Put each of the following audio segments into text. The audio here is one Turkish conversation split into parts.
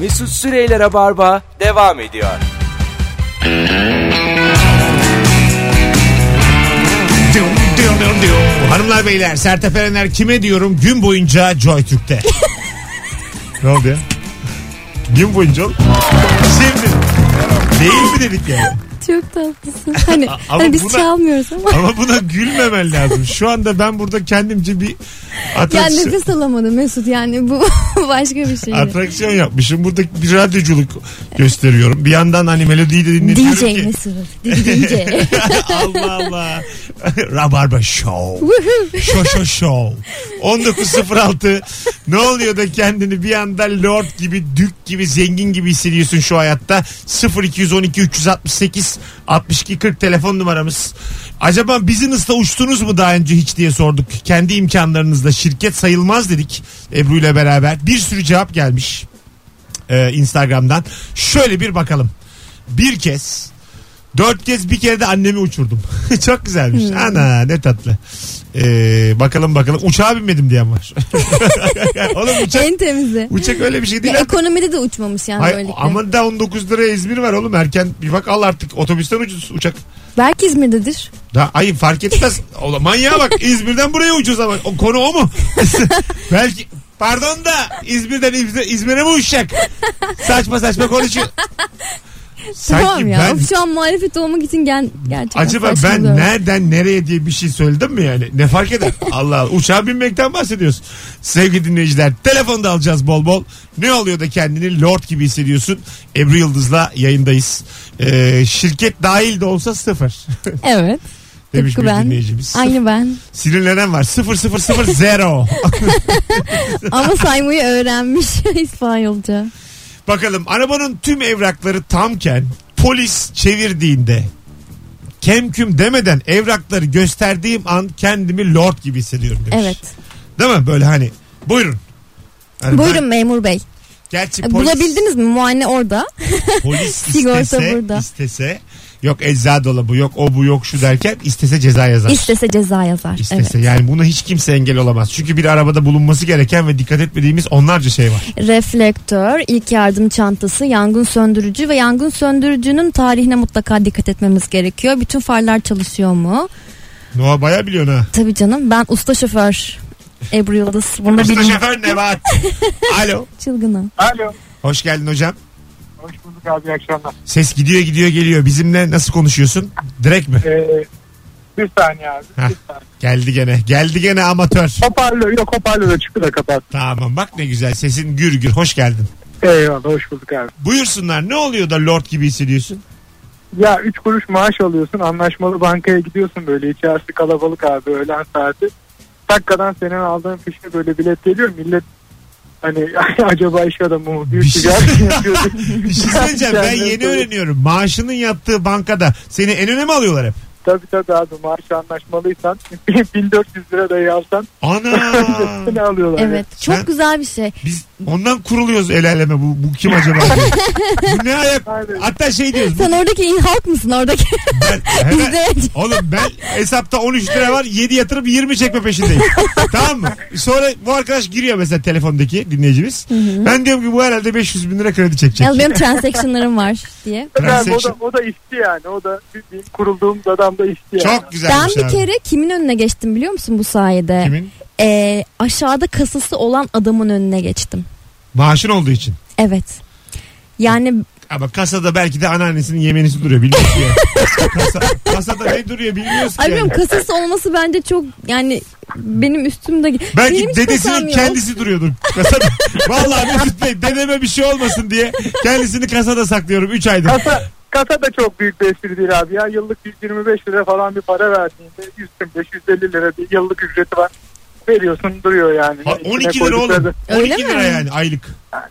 Mesut Süreyler'e barba devam ediyor. Düm, düm, düm, düm. Hanımlar beyler Sertap Erener kime diyorum gün boyunca Joy Türk'te. ne oldu ya? Gün boyunca ol. Şimdi. Değil mi dedik yani? Çok tatlısın. Hani, Ama hani biz buna- çalmıyoruz ama. Ama buna gülmemen lazım. Şu anda ben burada kendimce bir Ya atraksiyon, nefes alamadım Mesut yani bu başka bir şey. atraksiyon yapmışım. Burada bir radyoculuk gösteriyorum. Bir yandan hani melodiyi de dinletiyorum DJ ki. Mesut. DJ. Allah Allah. Rabarba Show. Show Show Show. 1906. ne oluyor da kendini bir anda lord gibi, dük gibi, zengin gibi hissediyorsun şu hayatta? 0212 368 62 40 telefon numaramız. Acaba business'ta uçtunuz mu daha önce hiç diye sorduk. Kendi imkanlarınızla şirket sayılmaz dedik Ebru ile beraber. Bir sürü cevap gelmiş e, Instagram'dan. Şöyle bir bakalım. Bir kez Dört kez bir kere de annemi uçurdum. Çok güzelmiş. Ana ne tatlı. Ee, bakalım bakalım. Uçağa binmedim diyen var. Oğlum uçak, en temizi. uçak öyle bir şey değil. Ya ekonomide de uçmamış yani Hayır, böylelikle. ama da 19 liraya İzmir var oğlum erken bir bak al artık otobüsten ucuz uçak. Belki İzmir'dedir. Daha, ay fark etmez. Oğlum manyağa bak İzmir'den buraya ucuz ama o konu o mu? Belki pardon da İzmir'den İzmir- İzmir'e mi uçacak? Saçma saçma konuşuyor. Sanki tamam ya. ben Of, şu an muhalefet olmak için gel gerçekten Acaba ben saçmalıyorum. nereden nereye diye bir şey söyledim mi yani? Ne fark eder? Allah Allah. Uçağa binmekten bahsediyoruz. Sevgili dinleyiciler telefonu da alacağız bol bol. Ne oluyor da kendini lord gibi hissediyorsun? Ebru Yıldız'la yayındayız. Ee, şirket dahil de olsa sıfır. Evet. Demiş Tıpkı bir ben. dinleyicimiz. Aynı ben. Sinirlenen var. Sıfır sıfır sıfır zero. Ama saymayı öğrenmiş İspanyolca. Bakalım arabanın tüm evrakları tamken polis çevirdiğinde kemküm demeden evrakları gösterdiğim an kendimi lord gibi hissediyorum demiş. Evet. Değil mi? Böyle hani buyurun. Hani Buyurun ben- memur bey. gerçi E, polis, Bulabildiniz mi? Muayene orada. polis Sigorta istese, burada. istese yok eczacı dolabı yok o bu yok şu derken istese ceza yazar. İstese ceza yazar. İstese yani bunu hiç kimse engel olamaz. Çünkü bir arabada bulunması gereken ve dikkat etmediğimiz onlarca şey var. Evet. Reflektör, ilk yardım çantası, yangın söndürücü ve yangın söndürücünün tarihine mutlaka dikkat etmemiz gerekiyor. Bütün farlar çalışıyor mu? Noah baya biliyorsun ha. Tabii canım ben usta şoför Ebru Yıldız. Bunu da Usta bilin. şoför Nebat. Alo. Çılgınım. Alo. Hoş geldin hocam. Hoş bulduk abi iyi akşamlar. Ses gidiyor gidiyor geliyor. Bizimle nasıl konuşuyorsun? Direkt mi? Ee, bir saniye abi. Heh. Bir saniye. Geldi gene. Geldi gene amatör. Hoparlör yok hoparlör çıktı da kapat. Tamam bak ne güzel sesin gür gür. Hoş geldin. Eyvallah hoş bulduk abi. Buyursunlar ne oluyor da lord gibi hissediyorsun? Ya 3 kuruş maaş alıyorsun anlaşmalı bankaya gidiyorsun böyle içerisi kalabalık abi öğlen saati. Dakikadan senin aldığın fişe böyle bilet geliyor millet hani acaba iş adamı mı Bir büyük şey- ticaret mi yapıyor? Bir şey söyleyeceğim ben yeni öğreniyorum. Maaşının yattığı bankada seni en öne mi alıyorlar hep? Tabii tabii abi maaş anlaşmalıysan 1400 lira da yapsan ne Ana alıyorlar. Evet çok Sen- güzel bir şey. biz ondan kuruluyoruz el aleme bu, bu kim acaba? diye. bu ne ayak? Aynen. Hatta şey diyoruz. bu- Sen oradaki in halk mısın oradaki? ben, hemen- Bizde Oğlum ben hesapta 13 lira var 7 yatırıp 20 çekme peşindeyim. tamam mı? Sonra bu arkadaş giriyor mesela telefondaki dinleyicimiz. Ben diyorum ki bu herhalde 500 bin lira kredi çekecek. yalnız benim transactionlarım var diye. Abi, o da Transaction. o da işçi yani. O da bildiğin kurulduğum adam da işçi yani. Çok Ben güzelmiş bir şey abi. kere kimin önüne geçtim biliyor musun bu sayede? Kimin? Ee, aşağıda kasası olan adamın önüne geçtim. Maaşın olduğu için. Evet. Yani Ama kasada belki de anneannesinin yemenisi duruyor bilmiyoruz ki. yani. Kasa, kasada ne duruyor bilmiyoruz ki. ay bilmiyorum yani. kasası olması bence çok yani benim üstümde Belki benim hiç kasam dedesinin yok. kendisi duruyordur kasada. Vallahi Mesut Bey dedeme bir şey olmasın diye kendisini kasada saklıyorum 3 aydır. Kasa, kasa da çok büyük bir espri değil abi ya. Yıllık 125 lira falan bir para verdiğinde 125-150 lira bir yıllık ücreti var. Veriyorsun duruyor yani. Ha, İçine 12 lira koydukları da- oğlum. 12 Öyle lira mi? yani aylık.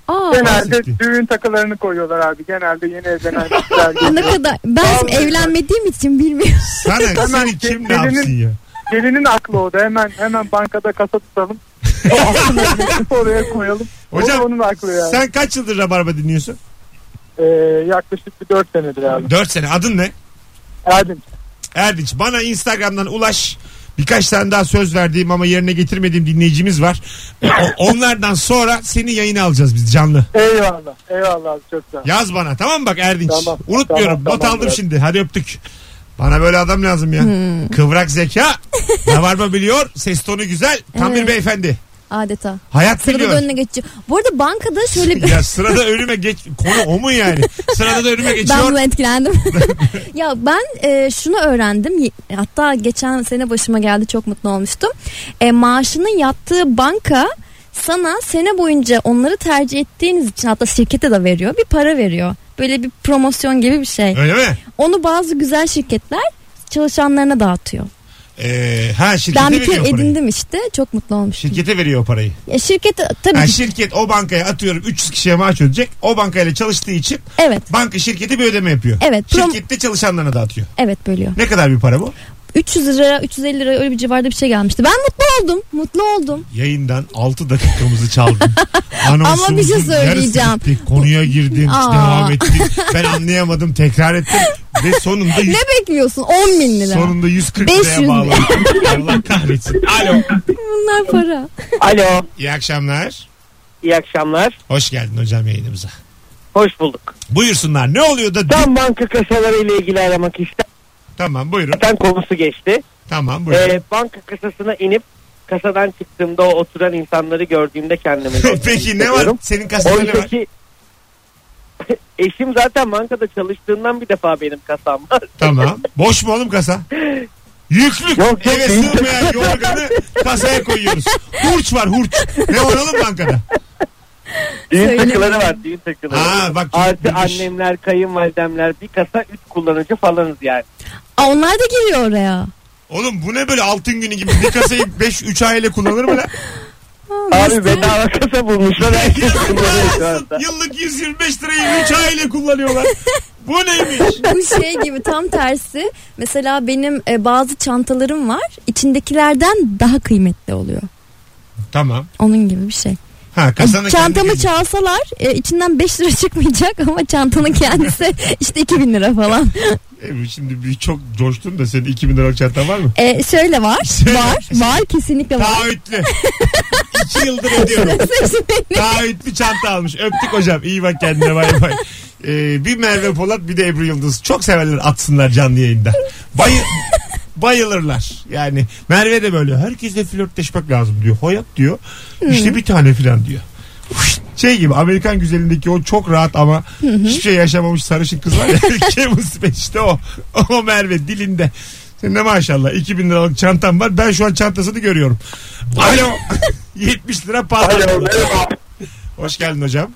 Aa, Genelde Bahsetti. düğün takılarını koyuyorlar abi. Genelde yeni evlenen kişiler ne geliyor. kadar ben şimdi evlenmediğim için bilmiyorum. Sana seni kim ne yapsın ya? Gelinin aklı o da hemen hemen bankada kasa tutalım. O aklına gidip oraya koyalım. Hocam, o da onun aklı yani. Sen kaç yıldır Rabarba dinliyorsun? Ee, yaklaşık bir 4 senedir abi. 4 sene. Adın ne? Erdinç. Erdinç. Bana Instagram'dan ulaş. Birkaç tane daha söz verdiğim ama yerine getirmediğim dinleyicimiz var. O- Onlardan sonra seni yayına alacağız biz canlı. Eyvallah. Eyvallah abi çok sağ ol. Yaz bana tamam mı bak Erdinç. Tamam, Unutmuyorum. tamam, Not tamam, aldım evet. şimdi. Hadi öptük. Bana böyle adam lazım ya. Hmm. Kıvrak zeka. Rabarba biliyor. Ses tonu güzel. Tam bir Evet. beyefendi. Adeta. Hayat Sırada da biliyor. önüne geçiyor. Bu arada bankada şöyle bir... ya sırada önüme geç konu o mu yani? Sırada da önüme Ben geçiyor. buna etkilendim. ya ben e, şunu öğrendim. Y- Hatta geçen sene başıma geldi çok mutlu olmuştum. E, maaşının yattığı banka sana sene boyunca onları tercih ettiğiniz için hatta şirkete de veriyor. Bir para veriyor. Böyle bir promosyon gibi bir şey. Öyle mi? Onu bazı güzel şirketler çalışanlarına dağıtıyor. Ee, ha şirkete Ben bir veriyor kere o parayı. edindim işte. Çok mutlu olmuştum. Şirkete veriyor o parayı. Ya şirket tabii Ha, ki- şirket o bankaya atıyorum 300 kişiye maaş ödeyecek. O bankayla çalıştığı için evet. banka şirketi bir ödeme yapıyor. Evet, prom- Şirkette çalışanlarına dağıtıyor. Evet bölüyor. Ne kadar bir para bu? 300 lira 350 lira öyle bir civarda bir şey gelmişti. Ben mutlu oldum. Mutlu oldum. Yayından 6 dakikamızı çaldın. Ama bir şey Anonsumuzun yarısı söyleyeceğim. gitti. Konuya girdim, Aa. devam ettik. Ben anlayamadım, tekrar ettim. Ve sonunda yüz- Ne bekliyorsun? 10 bin lira. sonunda 140 500 liraya lira. bağladım. Allah kahretsin. Alo. Bunlar para. Alo, İyi akşamlar. iyi akşamlar. Hoş geldin hocam yayınımıza. Hoş bulduk. Buyursunlar. Ne oluyor da? Tam banka kasaları ile ilgili aramak istedim. Tamam buyurun. Zaten konusu geçti. Tamam buyurun. Ee, banka kasasına inip kasadan çıktığımda o oturan insanları gördüğümde kendimi... Peki ne var? hissediyorum. Senin kasada ne var? Oysaki eşim zaten bankada çalıştığından bir defa benim kasam var. Tamam. Boş mu oğlum kasa? Yüklük. Yok, yok, Eve değil. sığmayan yorganı kasaya koyuyoruz. Hurç var hurç. Ne var oğlum bankada? Düğün Söyle. takıları var düğün takıları. Aa, bak, Artı bilmiş. annemler, kayınvalidemler bir kasa üç kullanıcı falanız yani. Aa, onlar da giriyor oraya. Oğlum bu ne böyle altın günü gibi bir kasayı 5 3 aile kullanır mı lan? Abi bedava kasa bulmuşlar herkes kullanıyor şu anda. Yıllık 125 lirayı 3 aile kullanıyorlar. Bu neymiş? Bu şey gibi tam tersi. Mesela benim e, bazı çantalarım var. İçindekilerden daha kıymetli oluyor. Tamam. Onun gibi bir şey. Ha kasanın Çantamı kendi- çalsalar e, içinden 5 lira çıkmayacak ama çantanın kendisi işte 2000 lira falan. E, Şimdi bir çok coştun da senin 2000 liralık çantan var mı? E, şöyle var. Şöyle. Var. Var kesinlikle var. Taahhütlü. 2 yıldır ödüyorum. Taahhütlü çanta almış. Öptük hocam. İyi bak kendine bay bay. Ee, bir Merve Polat bir de Ebru Yıldız. Çok severler atsınlar canlı yayında. Bayı bayılırlar. Yani Merve de böyle herkesle flörtleşmek lazım diyor. Hayat diyor. İşte bir tane filan diyor. Şey gibi Amerikan güzelindeki o çok rahat ama hiçbir şey yaşamamış sarışın kız var ya. Kevin Spacey işte o. O Merve dilinde. Senin de maşallah 2000 liralık çantam var. Ben şu an çantasını görüyorum. Alo. 70 lira Alo patladı. merhaba. Hoş geldin hocam.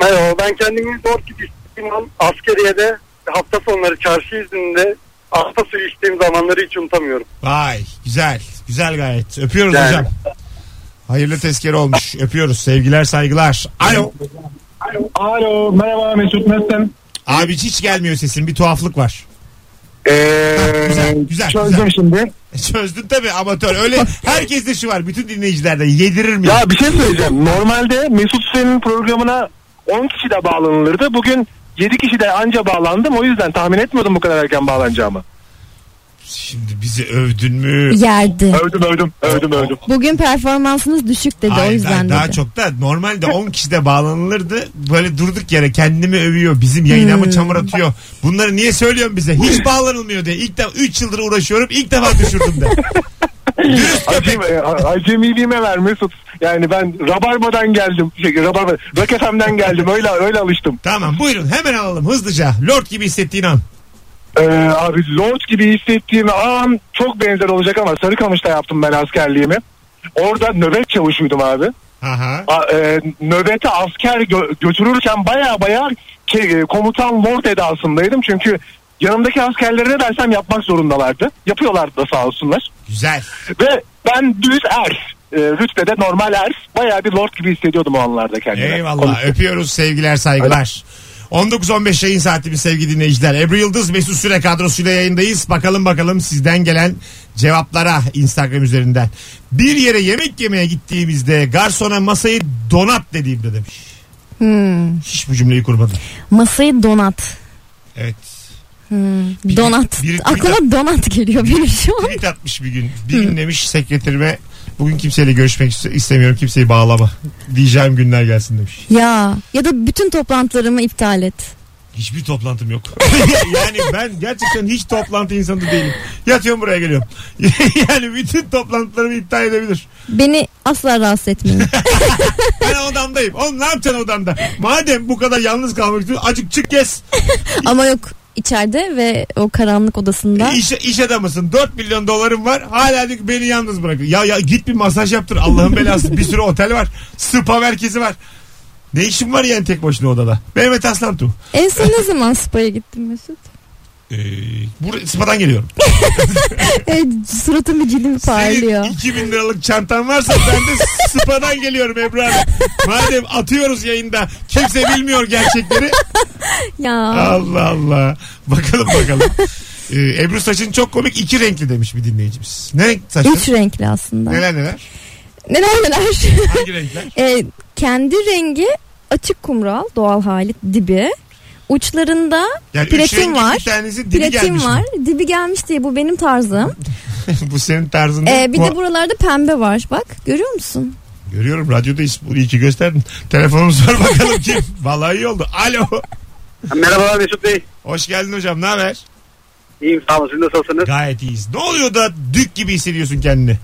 Merhaba ben kendimi zor gibi hissettiğim an askeriyede hafta sonları çarşı izninde hafta suyu içtiğim zamanları hiç unutamıyorum. Vay güzel. Güzel gayet. Öpüyoruz Güzel. hocam. Hayırlı tezkere olmuş. Öpüyoruz. Sevgiler saygılar. Alo. Alo merhaba Mesut Mesten. Abi hiç gelmiyor sesin. Bir tuhaflık var. güzel, güzel, Ee, Çözdüm güzel. şimdi. Çözdün tabii amatör. Öyle herkeste şu var. Bütün dinleyicilerde yedirir mi? Ya bir şey söyleyeceğim. Normalde Mesut Süren'in programına 10 kişi de bağlanılırdı. Bugün 7 kişi de anca bağlandım. O yüzden tahmin etmiyordum bu kadar erken bağlanacağımı. Şimdi bizi övdün mü? Yerdi. Övdüm övdüm. Övdüm övdüm. Bugün performansınız düşük dedi Hayır, o yüzden daha dedi. çok da normalde 10 kişi de bağlanılırdı. Böyle durduk yere kendimi övüyor. Bizim yayına mı çamur Hmm. atıyor? Bunları niye söylüyorsun bize? Hiç bağlanılmıyor diye. İlk defa 3 yıldır uğraşıyorum. İlk defa düşürdüm de. Dürüst köpek. Acemi, acemiliğime ver Mesut. Yani ben Rabarba'dan geldim. Şey, Rabarba, Rock FM'den geldim. Öyle öyle alıştım. Tamam buyurun hemen alalım hızlıca. Lord gibi hissettiğin an. Ee, abi Lord gibi hissettiğim an çok benzer olacak ama Sarıkamış'ta yaptım ben askerliğimi. Orada nöbet çavuşuydum abi. Aha. A- e, nöbete asker gö- götürürken baya baya ke- e, komutan lord edasındaydım. Çünkü yanımdaki askerlere ne dersem yapmak zorundalardı. Yapıyorlardı da sağ olsunlar. Güzel. Ve ben düz er. E, rütbede normal er. Baya bir lord gibi hissediyordum o anlarda kendimi. Eyvallah öpüyoruz sevgiler saygılar. 19-15 yayın saatimiz sevgili dinleyiciler. Ebru Yıldız Mesut Süre kadrosuyla yayındayız. Bakalım bakalım sizden gelen cevaplara Instagram üzerinden. Bir yere yemek yemeye gittiğimizde garsona masayı donat dediğimde demiş. Hmm. Hiç bu cümleyi kurmadım. Masayı donat. Evet. Hmm, Bir- donat. bir- bir- Aklıma donat geliyor benim şu an. Tweet atmış bir gün. Bir gün demiş sekreterime bugün kimseyle görüşmek iste- istemiyorum kimseyi bağlama. Diyeceğim günler gelsin demiş. Ya ya da bütün toplantılarımı iptal et. Hiçbir toplantım yok. yani ben gerçekten hiç toplantı insanı değilim. Yatıyorum buraya geliyorum. yani bütün toplantılarımı iptal edebilir. Beni asla rahatsız etmeyin. Ben odamdayım. Oğlum ne yapacaksın odamda? Madem bu kadar yalnız kalmak istiyorsun acık çık gez. Ama yok içeride ve o karanlık odasında. İş, iş adamısın. 4 milyon dolarım var. Hala diyor ki beni yalnız bırakın. Ya ya git bir masaj yaptır. Allah'ın belası. Bir sürü otel var. Spa merkezi var. Ne işin var yani tek başına odada? Mehmet Aslan Tu. En son ne zaman spa'ya gittin Mesut? Ee, bur- spadan geliyorum. Evet, suratın bir cildim E, parlıyor. Senin 2000 liralık çantan varsa ben de spadan geliyorum Ebru Hanım. Madem atıyoruz yayında. Kimse bilmiyor gerçekleri. Ya. Allah Allah. Bakalım bakalım. Ee, Ebru saçın çok komik iki renkli demiş bir dinleyicimiz. Ne renk saçın? Üç renkli aslında. Neler neler? Neler neler. Hangi renkler? E, kendi rengi açık kumral doğal hali dibi. Uçlarında Yani Platin üç rengin var. Bir tanesi dibi platin gelmiş var. var. Dibi gelmiş diye bu benim tarzım. Bu senin tarzın. E, değil. bir Bu- de buralarda pembe var. Bak görüyor musun? Görüyorum radyodayız. Bunu iyi ki gösterdin. Telefonumuz var bakalım kim. Vallahi iyi oldu. Alo. Merhabalar Mesut Bey. Hoş geldin hocam. Ne haber? İyiyim sağ olun. Siz nasılsınız? Gayet iyiyiz. Ne oluyor da dük gibi hissediyorsun kendini?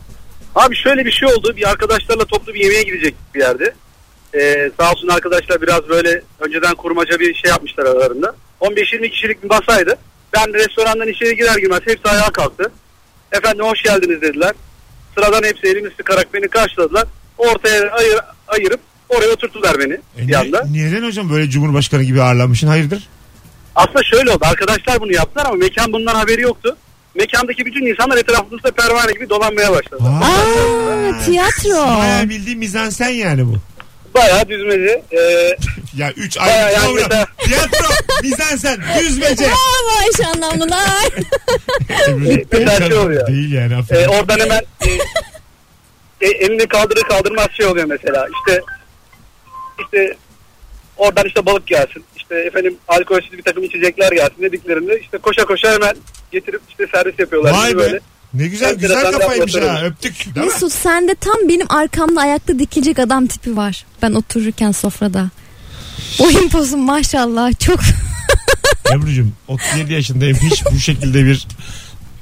Abi şöyle bir şey oldu. Bir arkadaşlarla toplu bir yemeğe gidecek bir yerde. Ee, sağ olsun arkadaşlar biraz böyle önceden kurmaca bir şey yapmışlar aralarında. 15-20 kişilik bir masaydı. Ben de restorandan içeri girer girmez hepsi ayağa kalktı. Efendim hoş geldiniz dediler. Sıradan hepsi elini sıkarak beni karşıladılar. Ortaya ayır, ayırıp oraya oturttular beni E, bir ne- anda. neden hocam böyle cumhurbaşkanı gibi ağırlanmışsın? Hayırdır? Aslında şöyle oldu. Arkadaşlar bunu yaptılar ama mekan bundan haberi yoktu. Mekandaki bütün insanlar etrafımızda pervane gibi dolanmaya başladı. Aa, tiyatro. Bayağı bildiğin mizansen yani bu. Bayağı düzmece. Ee, Ya 3 Bayağı ay yani kavram. mesela- Tiyatro, mizansen, düzmece. Bravo eş anlamlılar. Güzel şey oluyor. Değil yani. aferin. E, oradan hemen e, e, elini kaldırır kaldırmaz şey oluyor mesela. İşte işte oradan işte balık gelsin. İşte efendim alkolsüz bir takım içecekler gelsin dediklerinde işte koşa koşa hemen getirip işte servis yapıyorlar. Vay Bizi be. Ne güzel güzel Enteresan kafaymış laflar ha. Öptük. Değil mi? Mesut sende tam benim arkamda ayakta dikilecek adam tipi var. Ben otururken sofrada. Boyun pozun maşallah çok Ebru'cum 37 yaşındayım hiç bu şekilde bir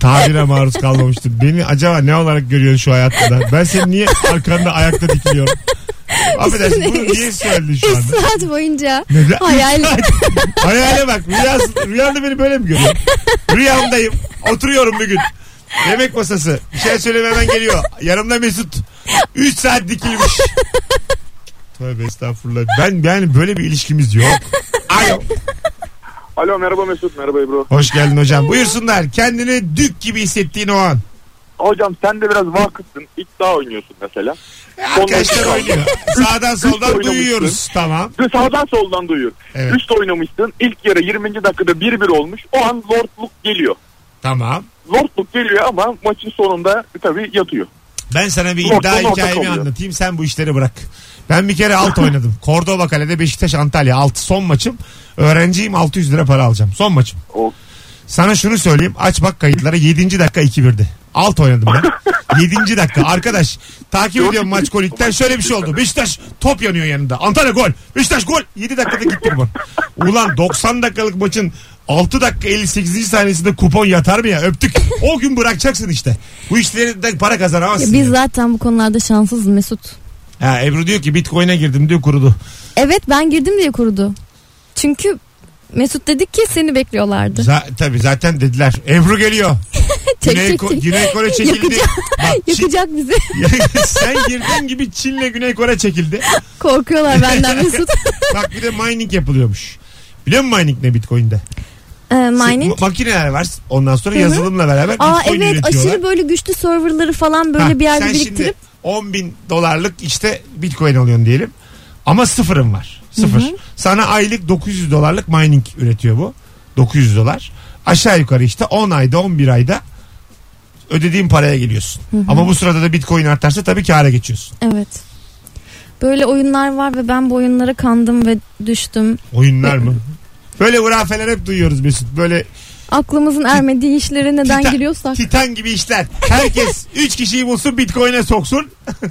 tabire maruz kalmamıştım. Beni acaba ne olarak görüyorsun şu hayatta? da? Ben seni niye arkanda ayakta dikiliyorum? Affedersin bunu niye söyledin şu üç anda? saat boyunca Neden? hayal Hayale bak rüyası, rüyanda beni böyle mi görüyorsun? Rüyamdayım oturuyorum bir gün. Yemek masası bir şey söylemeden geliyor. Yanımda Mesut 3 saat dikilmiş. Tövbe estağfurullah. Ben yani böyle bir ilişkimiz yok. Alo. Alo merhaba Mesut merhaba Ebru. Hoş geldin hocam. Buyursunlar. Kendini dük gibi hissettiğin o an. Hocam sen de biraz vakıfsın. İddia oynuyorsun mesela. Arkadaşlar Ondan- oynuyor. Sağdan soldan oynamışsın. duyuyoruz. Tamam. Ve Sağdan soldan duyuyor. Evet. Üst oynamışsın. İlk yarı 20. dakikada 1-1 olmuş. O an lordluk geliyor. Tamam. Lordluk geliyor ama maçın sonunda tabii yatıyor. Ben sana bir Ortadan iddia ortak hikayemi oluyor. anlatayım. Sen bu işleri bırak. Ben bir kere alt oynadım. Cordoba Kale'de Beşiktaş Antalya. Alt son maçım. Öğrenciyim 600 lira para alacağım. Son maçım. O- Sana şunu söyleyeyim. Aç bak kayıtlara 7. dakika 2-1'di. Alt oynadım ben. 7. dakika. Arkadaş takip ediyorum maç kolikten. Şöyle bir şey oldu. Beşiktaş top yanıyor yanında. Antalya gol. Beşiktaş gol. 7 dakikada gitti bu. Ulan 90 dakikalık maçın 6 dakika 58. saniyesinde kupon yatar mı ya? Öptük. O gün bırakacaksın işte. Bu işlerden para Ya kazanamazsın. biz yani. zaten bu konularda şanssızız Mesut. Ha, Ebru diyor ki Bitcoin'e girdim diyor kurudu. Evet ben girdim diye kurudu. Çünkü Mesut dedik ki seni bekliyorlardı. Za- tabii zaten dediler. Ebru geliyor. Çek, Güney, çek, Ko- çek. Güney Kore çekildi. Yakacak. Bak, Çin- Yakacak bizi. Sen girdiğin gibi Çin'le Güney Kore çekildi. Korkuyorlar benden Mesut. Bak bir de mining yapılıyormuş. Biliyor musun mining ne Bitcoin'de? Ee, mining. Se- Makineler var. Ondan sonra Hı hı. yazılımla beraber Aa Bitcoin evet üretiyorlar. aşırı böyle güçlü serverları falan Ha, böyle bir yerde sen biriktirip. şimdi 10 bin dolarlık işte Bitcoin alıyorsun diyelim. Ama sıfırın var. Sıfır. Sana aylık 900 dolarlık mining üretiyor bu. 900 dolar. Aşağı yukarı işte 10 ayda 11 ayda ödediğin paraya geliyorsun. Ama bu sırada da Bitcoin artarsa tabii kâra geçiyorsun. Evet. Böyle oyunlar var ve ben bu oyunlara kandım ve düştüm. Oyunlar mı? Böyle hurafeler hep duyuyoruz Mesut. Böyle aklımızın ermediği işlere neden Titan- giriyorsak. Titan gibi işler. Herkes 3 kişiyi bulsun bitcoin'e soksun.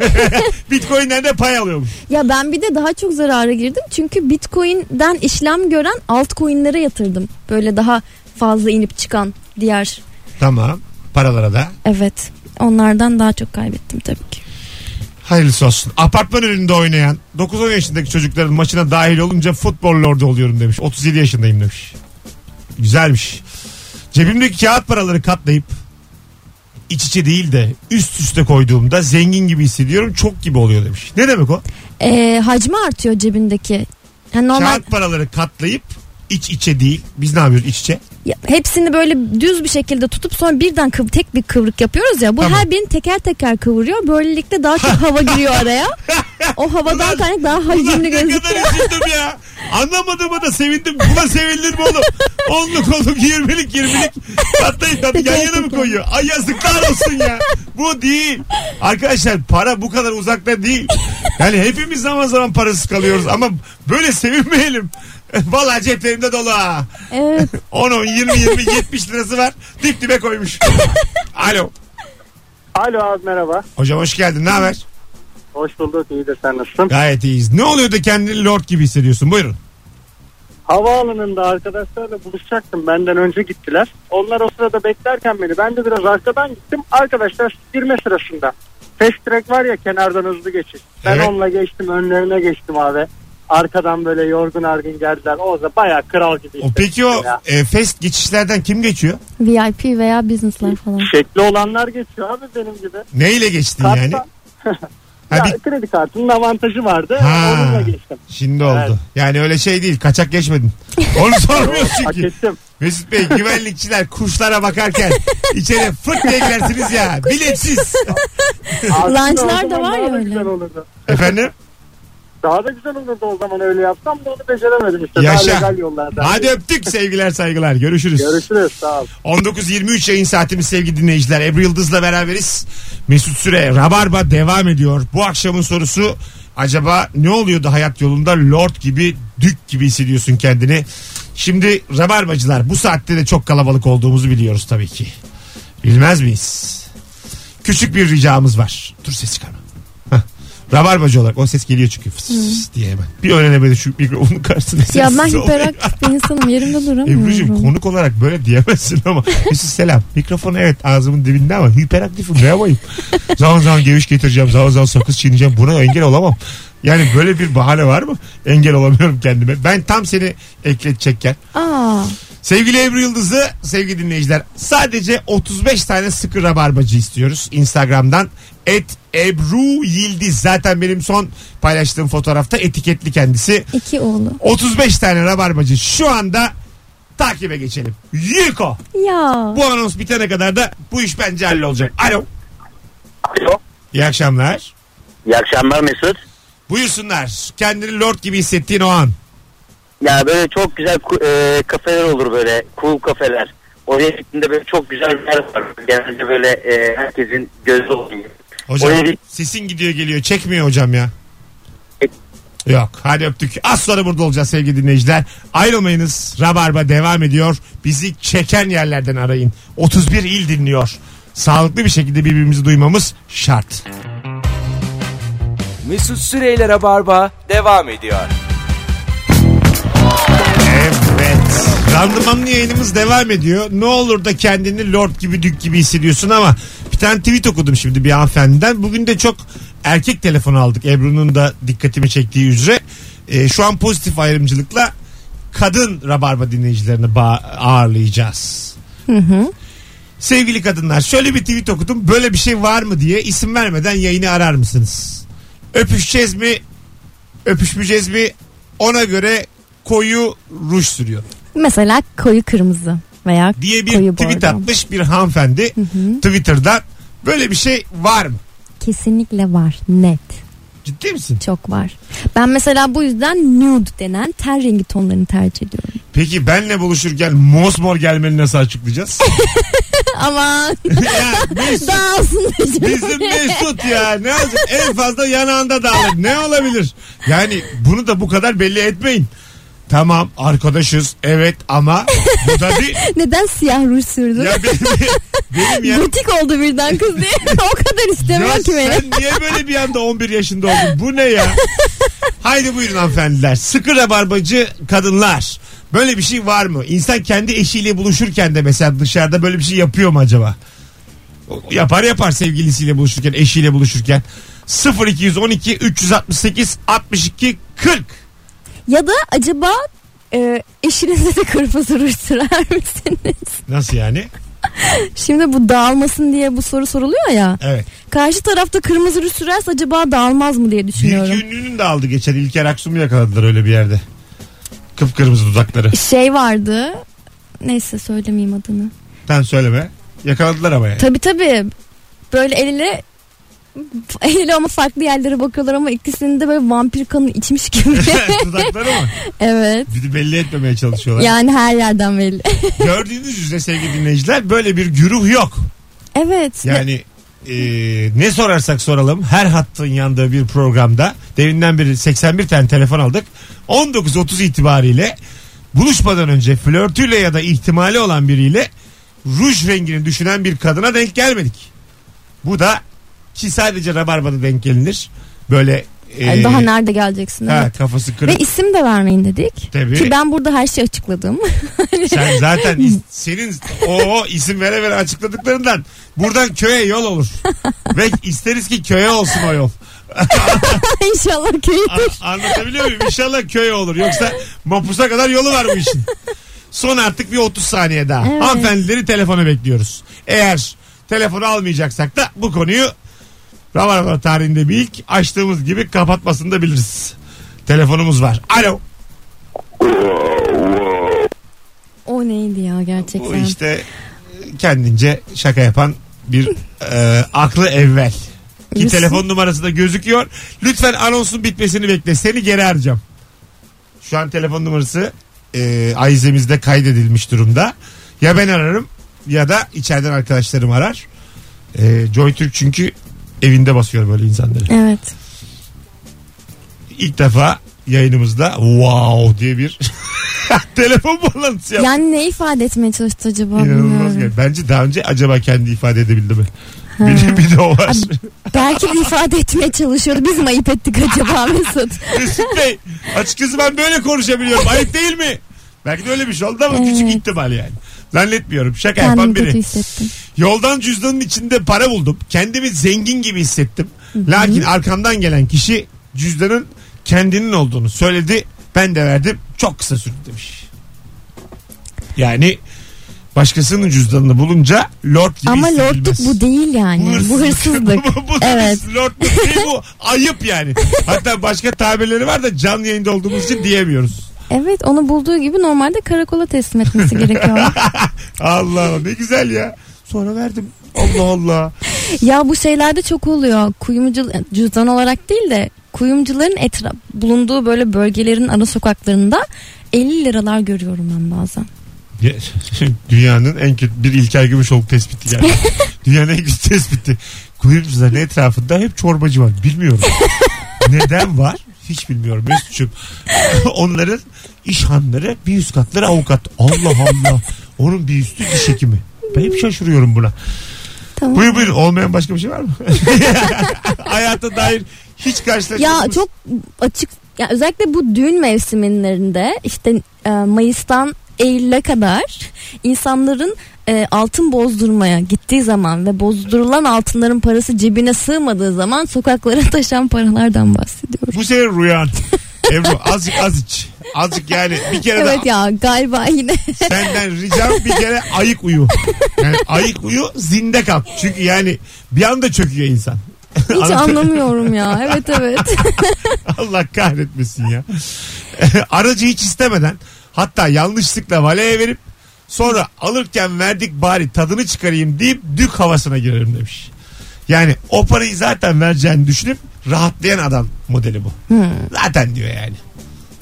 Bitcoin'den de pay alıyormuş. Ya ben bir de daha çok zarara girdim. Çünkü Bitcoin'den işlem gören altcoin'lere yatırdım. Böyle daha fazla inip çıkan diğer. Tamam. Paralara da. Evet. Onlardan daha çok kaybettim tabii ki. Hayırlısı olsun. Apartman önünde oynayan 9-10 yaşındaki çocukların maçına dahil olunca futbol lordu oluyorum demiş. 37 yaşındayım demiş. Güzelmiş. Cebimdeki kağıt paraları katlayıp iç içe değil de üst üste koyduğumda zengin gibi hissediyorum. Çok gibi oluyor demiş. Ne demek o? Ee, hacmi artıyor cebindeki. Yani normal Kağıt paraları katlayıp iç içe değil. Biz ne yapıyoruz iç içe? Ya, hepsini böyle düz bir şekilde tutup sonra birden kıv- tek bir kıvrık yapıyoruz ya. Bu Tamam. her birini teker teker kıvırıyor. Böylelikle daha çok hava giriyor araya. O havadan kaynak daha Ulan hacimli ne kadar gözüküyor. üzüldüm ya. Anlamadığıma da sevindim. Buna sevinilir mi oğlum? Onluk onluk yirmilik yirmilik. Hatta hatta yan yana mı koyuyor? Ay yazıklar olsun ya. Bu değil. Arkadaşlar para bu kadar uzakta değil. Yani hepimiz zaman zaman parasız kalıyoruz ama böyle sevinmeyelim. Vallahi ceplerinde dolu ha. Evet. 10 10 20 20 70 lirası var. Dip dibe koymuş. Alo. Alo abi merhaba. Hocam hoş geldin. Ne haber? Hoş bulduk. İyidir sen nasılsın? Gayet iyiyiz. Ne oluyor da kendini lord gibi hissediyorsun? Buyurun. Havaalanında arkadaşlarla buluşacaktım. Benden önce gittiler. Onlar o sırada beklerken beni. Ben de biraz arkadan gittim. Arkadaşlar girme sırasında. Fast track var ya kenardan hızlı geçiş. Ben Evet. onunla geçtim. Önlerine geçtim abi. Arkadan böyle yorgun argın geldiler. O da bayağı kral gibi. O peki o Ya. e, fest geçişlerden kim geçiyor? VIP veya business'lar falan. Şekli olanlar geçiyor abi benim gibi. Neyle geçtin Kartla- yani? Ya, Ha, bir- kredi kartının avantajı vardı. Ha. Onunla geçtim. Şimdi Evet. oldu. Yani öyle şey değil. Kaçak geçmedin. Onu sormuyoruz Hak çünkü. ettim. Mesut Bey güvenlikçiler kuşlara bakarken içeri fırt diye girersiniz ya. Biletsiz. Aslında Lunchlar o zaman da var daha ya da öyle. güzel olurdu. Efendim? Daha da güzel olurdu o zaman öyle yapsam da onu beceremedim işte. Yaşa. Daha legal yollardan. Hadi öptük sevgiler saygılar. Görüşürüz. Görüşürüz sağ ol. 19.23 yayın saatimiz sevgili dinleyiciler. Ebru Yıldız'la beraberiz. Mesut Süre Rabarba devam ediyor. Bu akşamın sorusu acaba ne oluyordu hayat yolunda lord gibi dük gibi hissediyorsun kendini. Şimdi Rabarbacılar bu saatte de çok kalabalık olduğumuzu biliyoruz tabii ki. Bilmez miyiz? Küçük bir ricamız var. Dur ses çıkarma. Heh. Rabarbacı olarak o ses geliyor çünkü fıs fıs diye hemen. Bir öğrenemedi şu mikrofonun karşısında. Ya ben sessiz olmayı. hiperaktif bir insanım. Yerimde Ebru'cum duramıyorum. konuk olarak böyle diyemezsin ama. Mesut selam. Mikrofon evet ağzımın dibinde ama hiperaktifim ne yapayım? zaman zaman geviş getireceğim. Zaman zaman sakız çiğneyeceğim. Buna engel olamam. Yani böyle bir bahane var mı? Engel olamıyorum kendime. Ben tam seni ekletecekken. Aa, Sevgili Ebru Yıldız'ı sevgili dinleyiciler sadece 35 tane sıkı rabarbacı istiyoruz. Instagram'dan et Ebru Yildiz zaten benim son paylaştığım fotoğrafta etiketli kendisi. iki oğlu. 35 tane rabarbacı şu anda takibe geçelim. Yiko. Ya. Bu anons bitene kadar da bu iş bence hallolacak. Alo. Alo. İyi akşamlar. İyi akşamlar Mesut. Buyursunlar. Kendini lord gibi hissettiğin o an. Ya böyle çok güzel ku- e, kafeler olur böyle. Cool kafeler. Oraya gittiğinde böyle çok güzel bir yer var. Genelde böyle e, herkesin gözü oluyor. Hocam Oraya git- sesin gidiyor geliyor. Çekmiyor hocam ya. Evet. Yok hadi öptük. Az sonra burada olacağız sevgili dinleyiciler. Ayrılmayınız. Rabarba devam ediyor. Bizi çeken yerlerden arayın. 31 il dinliyor. Sağlıklı bir şekilde birbirimizi duymamız şart. Mesut Süreyler'e barba devam ediyor. Evet. Randımanlı yayınımız devam ediyor. Ne olur da kendini lord gibi dük gibi hissediyorsun ama bir tane tweet okudum şimdi bir hanımefendiden. Bugün de çok erkek telefonu aldık. Ebru'nun da dikkatimi çektiği üzere. Ee, şu an pozitif ayrımcılıkla kadın rabarba dinleyicilerini ba- ağırlayacağız. Sevgili kadınlar şöyle bir tweet okudum. Böyle bir şey var mı diye isim vermeden yayını arar mısınız? Öpüşeceğiz mi? Öpüşmeyeceğiz mi? Ona göre koyu ruj sürüyor Mesela koyu kırmızı veya diye bir koyu tweet bordo. atmış bir hanımefendi Twitter'dan. Böyle bir şey var mı? Kesinlikle var. Net. Ciddi misin? Çok var. Ben mesela bu yüzden nude denen ten rengi tonlarını tercih ediyorum. Peki benle buluşurken mosmor gelmeni nasıl açıklayacağız? Aman ya Mesut, dağılsın. bizim Mesut ya. Ne olacak? En fazla yanağında dağılır. Ne olabilir? Yani bunu da bu kadar belli etmeyin. Tamam arkadaşız evet ama bu da bir Neden siyah ruj sürdün? ya benim, benim ya, Gotik oldu birden kız diye. o kadar ya istemiyor ki beni. sen niye böyle bir anda 11 yaşında oldun bu ne ya? Haydi buyurun hanımefendiler sıkı rabarbacı kadınlar böyle bir şey var mı? İnsan kendi eşiyle buluşurken de mesela dışarıda böyle bir şey yapıyor mu acaba? Yapar yapar sevgilisiyle buluşurken eşiyle buluşurken 0212 368 62 40 Ya da acaba e, eşinize de kırmızı ruj sürer misiniz? Nasıl yani? Şimdi bu dağılmasın diye bu soru soruluyor ya. Evet. Karşı tarafta kırmızı ruj sürerse acaba dağılmaz mı diye Bir iki düşünüyorum. ünlünün de aldı geçen. İlker Aksu'mu yakaladılar öyle bir yerde. Kıpkırmızı dudakları. Şey vardı. Neyse söylemeyeyim adını. Sen söyleme. Yakaladılar ama yani. Tabi tabi. Böyle el ele el ele ama farklı yerlere bakıyorlar ama ikisini de böyle vampir kanı içmiş gibi. Dudakları mı? evet. Bir de belli etmemeye çalışıyorlar. Yani her yerden belli. Gördüğünüz üzere sevgili dinleyiciler böyle bir güruh yok. evet. Yani e, ne sorarsak soralım her hattın yandığı bir programda deminden beri 81 tane telefon aldık. 19.30 itibariyle buluşmadan önce flörtüyle ya da ihtimali olan biriyle ruj rengini düşünen bir kadına denk gelmedik. Bu da ki sadece rabarbada denk gelinir. Böyle e, Yani daha nerede geleceksin? ha, evet. kafası Ve kırık. isim de vermeyin dedik. Tabii. Ki ben burada her şeyi açıkladım. Sen zaten is- senin o isim vere vere açıkladıklarından buradan köye yol olur. Ve isteriz ki köye olsun o yol. İnşallah köyü. A- Anlatabiliyor muyum? İnşallah köye olur. Yoksa mapusa kadar yolu var bu işin. Son artık bir 30 saniye daha. Evet. Hanımefendileri telefona bekliyoruz. Eğer telefonu almayacaksak da bu konuyu Rabarba tarihinde bir ilk açtığımız gibi kapatmasını da biliriz. Telefonumuz var. Alo. O neydi ya Bu gerçekten? işte e, kendince şaka yapan bir e, aklı evvel. Ki Lütfen. telefon numarası da gözüküyor. Lütfen anonsun bitmesini bekle. Seni geri arayacağım. Şu an telefon numarası e, Ayzemizde kaydedilmiş durumda. Ya ben ararım ya da içeriden arkadaşlarım arar. E, Joy Türk çünkü evinde basıyor böyle insanları. Evet. İlk defa yayınımızda wow diye bir telefon bağlantısı yaptı. Yani ne ifade etmeye çalıştı acaba? İnanılmaz bilmiyorum. gel. Bence daha önce acaba kendi ifade edebildi mi? Bir, bir de o var. Abi- Belki de ifade etmeye çalışıyordu. Biz mi ayıp ettik acaba Mesut? Mesut Bey açıkçası ben böyle konuşabiliyorum. Ayıp değil mi? Belki de öyle bir şey oldu ama küçük Evet. ihtimal yani. Zannetmiyorum. Şaka Kendimi yapan kötü biri. hissettim. Yoldan cüzdanın içinde para buldum. Kendimi zengin gibi hissettim. Lakin arkamdan gelen kişi cüzdanın kendinin olduğunu söyledi. Ben de verdim. Çok kısa sürdü demiş. Yani başkasının cüzdanını bulunca lord gibi Ama hissedilmez. lordluk bu değil yani. Bu hırsızlık. bu, bu, evet. lordluk değil, bu ayıp yani. Hatta başka tabirleri var da canlı yayında olduğumuz için diyemiyoruz. Evet onu bulduğu gibi normalde karakola teslim etmesi gerekiyor. Allah Allah ne güzel ya. Sonra verdim. Allah Allah. ya bu şeylerde çok oluyor. Kuyumcu cüzdan olarak değil de kuyumcuların etraf bulunduğu böyle bölgelerin ana sokaklarında 50 liralar görüyorum ben bazen. Ya, Dünyanın en kötü bir İlker Gümüşoluk tespiti geldi. Dünyanın en kötü tespiti. Kuyumcuların etrafında hep çorbacı var. Bilmiyorum. Neden var? Hiç bilmiyorum Mesut'cum. Onların iş hanları bir üst katları avukat. Allah Allah. Onun bir üstü diş hekimi. Ben hep şaşırıyorum buna. Tamam. Buyur buyur. Olmayan başka bir şey var mı? Hayata dair hiç karşılaşmadınız. Ya çok açık ya özellikle bu düğün mevsimlerinde işte e, Mayıs'tan Eylül'e kadar insanların e, altın bozdurmaya gittiği zaman ve bozdurulan altınların parası cebine sığmadığı zaman sokaklara taşan paralardan bahsediyorum. Bu senin rüyan. Ebru azıcık azıcık. Azıcık yani bir kere de Evet ya galiba yine Senden ricam bir kere ayık uyu. Yani ayık uyu zinde kal. Çünkü yani bir anda çöküyor insan. hiç Anladın mı? anlamıyorum ya. Evet evet. Allah kahretmesin ya. Aracı hiç istemeden hatta yanlışlıkla valeye verip sonra alırken verdik bari tadını çıkarayım deyip dük havasına girerim demiş. Yani o parayı zaten vereceğini düşünüp rahatlayan adam modeli bu. Hmm. Zaten diyor yani.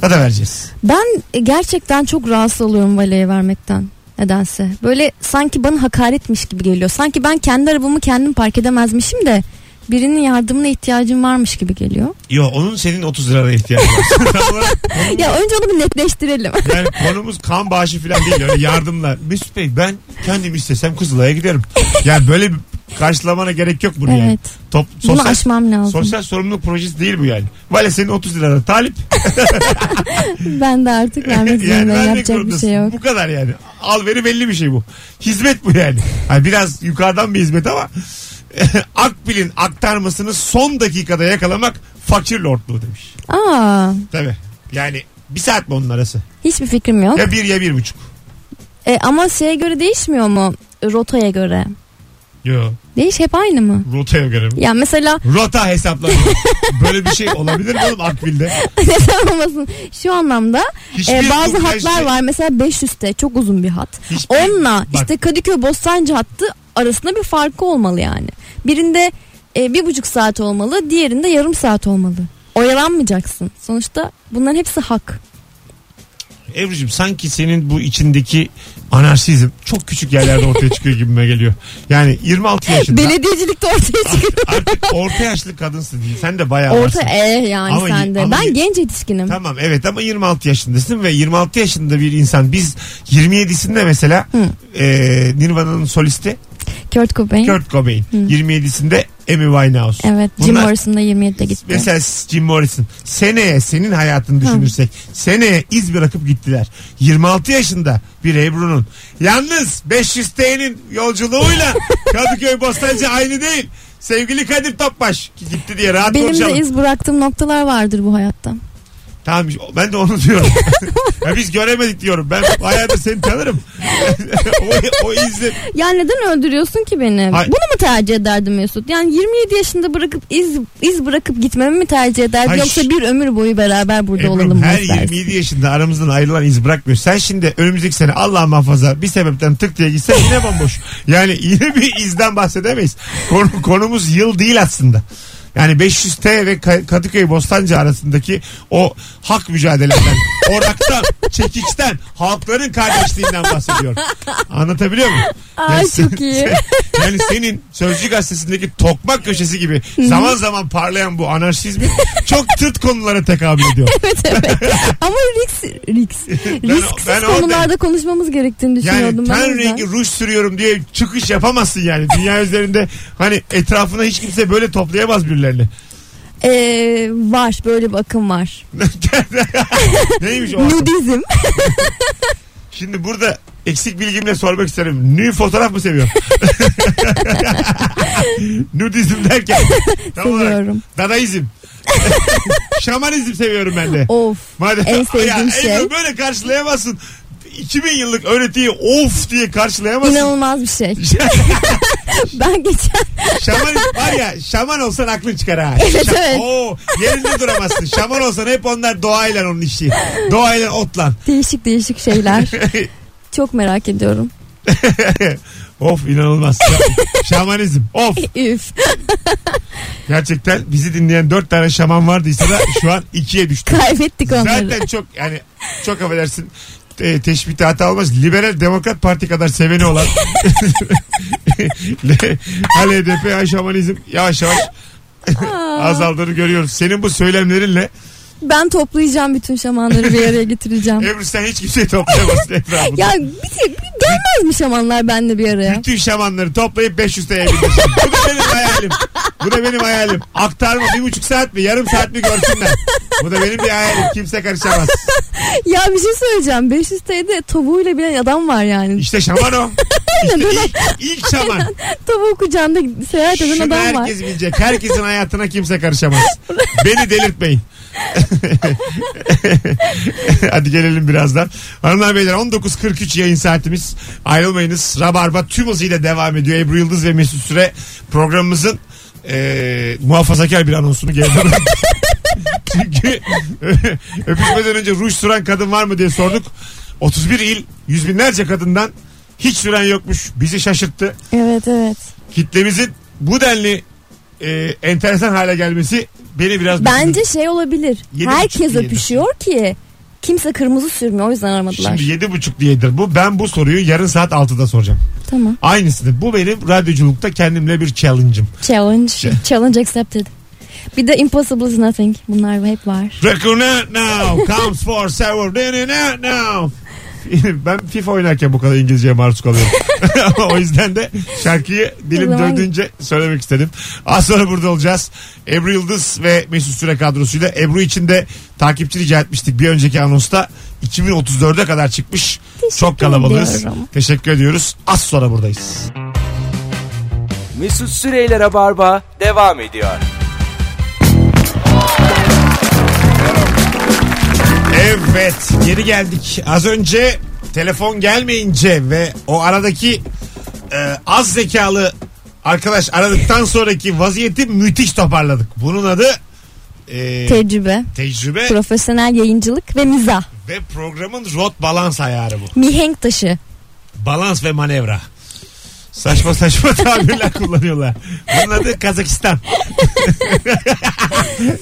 Zaten vereceğiz. Ben gerçekten çok rahatsız oluyorum valeye vermekten. Nedense. Böyle sanki bana hakaretmiş gibi geliyor. Sanki ben kendi arabamı kendim park edemezmişim de birinin yardımına ihtiyacın varmış gibi geliyor. Yo onun senin 30 lirana ihtiyacı var. Tam olarak Ya önce onu bir netleştirelim. Yani konumuz kan bağışı falan değil öyle yardımlar. Mesut Bey ben kendim istesem Kızılay'a giderim. Yani böyle bir karşılamana gerek yok bunu yani. evet. Top, Bunu sosyal, aşmam lazım. sosyal sorumluluk projesi değil bu yani. Vale senin 30 lirada talip. Ben de artık vermek yani zorundayım. vermek Yapacak bir zorundasın. şey yok. Bu kadar yani. Al veri belli bir şey bu. Hizmet bu yani. Hani biraz yukarıdan bir hizmet ama Akbil'in aktarmasını son dakikada yakalamak fakir lordluğu demiş. Aa, Tabii. Yani bir saat mi onun arası? hiçbir fikrim yok. Ya bir ya bir buçuk. E, ama şeye göre değişmiyor mu? Rotaya göre. Yo. Değiş hep aynı mı? Rotaya göre mi? Ya mesela Rota hesapları. Böyle bir şey olabilir mi oğlum Akbil'de? neden olmasın? Şu anlamda Hiçbir e, bazı yokmuş hatlar şey. var. Mesela 500'te çok uzun bir hat. Hiçbir- Onunla Bak. işte Kadıköy Bostancı hattı arasında bir farkı olmalı yani. Birinde e, bir buçuk saat olmalı, diğerinde yarım saat olmalı. Oyalanmayacaksın. Sonuçta bunların hepsi hak. Ebru'cum sanki senin bu içindeki anarşizm çok küçük yerlerde ortaya çıkıyor gibime geliyor. Yani 26 yaşında Belediyecilikte ortaya çıkıyor. artık orta yaşlı kadınsın. Sen de bayağı Orta varsın. e yani Ama- sende. ama- ben genç yetişkinim. Tamam evet ama 26 yaşındasın ve 26 yaşında bir insan biz 27'sinde mesela e, Nirvana'nın solisti Kurt Cobain. Kurt Cobain 27'sinde Amy Winehouse. Evet. Jim Bunlar- Morrison'da 27'de gitti. Mesela Jim Morrison seneye senin hayatını düşünürsek seneye iz bırakıp gittiler. 26 yaşında bir Ebru'nun yalnız 500 T'nin yolculuğuyla Kadıköy Bostancı aynı değil. Sevgili Kadir Topbaş ki gitti diye rahat Benim de konuşalım. iz bıraktığım noktalar vardır bu hayatta. Tamam ben de onu diyorum. ya biz göremedik diyorum. Ben hayatı seni tanırım. o, o izle. Ya neden öldürüyorsun ki beni? Hayır. Bunu mu tercih ederdin Mesut? Yani 27 yaşında bırakıp iz iz bırakıp gitmemi mi tercih ederdin Hayır. yoksa bir ömür boyu beraber burada Ebru'm, olalım mı her istersin? 27 yaşında aramızdan ayrılan iz bırakmıyor. Sen şimdi önümüzdeki sene Allah muhafaza bir sebepten tık diye gitsen yine bomboş. Yani yine bir izden bahsedemeyiz. Konu, konumuz yıl değil aslında. Yani 500T ve Ka- Kadıköy Bostancı arasındaki o hak mücadeleden, oraktan, çekikten, halkların kardeşliğinden bahsediyor. Anlatabiliyor muyum? Ay, çok iyi. yani senin Sözcü Gazetesi'ndeki tokmak köşesi gibi zaman zaman parlayan bu anarşizmi çok tırt konulara tekabül ediyor. evet evet. Ama risk risk risksiz ben oradayım. konularda konuşmamız gerektiğini düşünüyordum Yani ben. o ten yüzden. rengi ruj sürüyorum diye çıkış yapamazsın yani. Dünya üzerinde hani etrafına hiç kimse böyle toplayamaz birilerini. Ee, var böyle bir akım var. Neymiş o? akım? Nudizm. Şimdi burada eksik bilgimle sormak isterim. Nü fotoğraf mı seviyorsun? Nudizm derken. Tam olarak Seviyorum. Dadaizm. Şamanizm seviyorum ben de. of. Madem, En sevdiğim Ebru, şey. Böyle karşılayamazsın. 2000 yıllık öğretiyi of diye karşılayamazsın. İnanılmaz bir şey. Ben geçen Şaman var ya şaman olsan aklın çıkar ha. Evet, Şa- evet. Oo, yerinde duramazsın. Şaman olsan hep onlar doğayla onun işi. Doğayla otlan. değişik değişik şeyler. Çok merak ediyorum. of inanılmaz. Şa- Şamanizm. Of. Üf. Gerçekten bizi dinleyen dört tane şaman vardıysa da şu an ikiye düştü. Kaybettik onları. Zaten çok yani çok affedersin e, teşbihte hata olmaz. Liberal Demokrat Parti kadar seveni olan Hal HDP ha, şamanizm yavaş yavaş azaldığını görüyoruz. Senin bu söylemlerinle Ben toplayacağım bütün şamanları bir araya getireceğim. Ebru sen hiç kimseyi toplayamazsın etrafında. ya bir, bir gelmez mi şamanlar benle bir araya? Bütün şamanları toplayıp 500 TL'ye bindirsin. Bu da benim hayalim. Bu da benim hayalim. Aktarma bir buçuk saat mi yarım saat mi görsünler. Bu da benim bir hayalim. Kimse karışamaz. ya bir şey söyleyeceğim. 500 TL'de tavuğuyla bilen adam var yani. İşte şaman o. İşte öyle. ilk, ilk şaman. Tavuğu kucağında seyahat eden Şunu adam var. herkes bilecek. Herkesin hayatına kimse karışamaz. Beni delirtmeyin. Hadi gelelim birazdan. Hanımlar beyler 19.43 yayın saatimiz. Ayrılmayınız. Rabarba tüm hızıyla devam ediyor. Ebru Yıldız ve Mesut Süre programımızın eee muhafazakar bir anonsunu geri döndüm. Çünkü öpüşmeden önce ruj süren kadın var mı diye sorduk. 31 il yüz binlerce kadından hiç süren yokmuş. Bizi şaşırttı Evet evet. kitlemizin bu denli e, enteresan hale gelmesi beni biraz Bence şey olabilir. Yedi buçuk Herkes diyelim. öpüşüyor ki Kimse kırmızı sürmüyor o yüzden aramadılar. Şimdi yedi buçuk diyedir bu. Ben bu soruyu yarın saat 6'da soracağım. Tamam. Aynısını. Bu benim radyoculukta kendimle bir challenge'ım. Challenge. Şey- Challenge accepted. Bir de impossible is nothing. Bunlar hep var. Recognize now comes for server. now. Ben FIFA oynarken bu kadar İngilizceye maruz kalıyorum. o yüzden de şarkıyı dilim O zaman- döndüğünce söylemek istedim. Az sonra burada olacağız. Ebru Yıldız ve Mesut Süre kadrosuyla. Ebru için de takipçi rica etmiştik bir önceki anonsta. 2034'e kadar çıkmış. Çok kalabalığız. ediyorum. Teşekkür ediyoruz. Az sonra buradayız. Mesut Süreyler'e barba devam ediyor. Evet geri geldik. Az önce telefon gelmeyince ve o aradaki e, az zekalı arkadaş aradıktan sonraki vaziyeti müthiş toparladık. Bunun adı e, Tecrübe, tecrübe profesyonel yayıncılık ve mizah. ve programın rot balans ayarı bu. Mihenk taşı. Balans ve manevra. Saçma saçma tabirler kullanıyorlar. Bunun adı Kazakistan.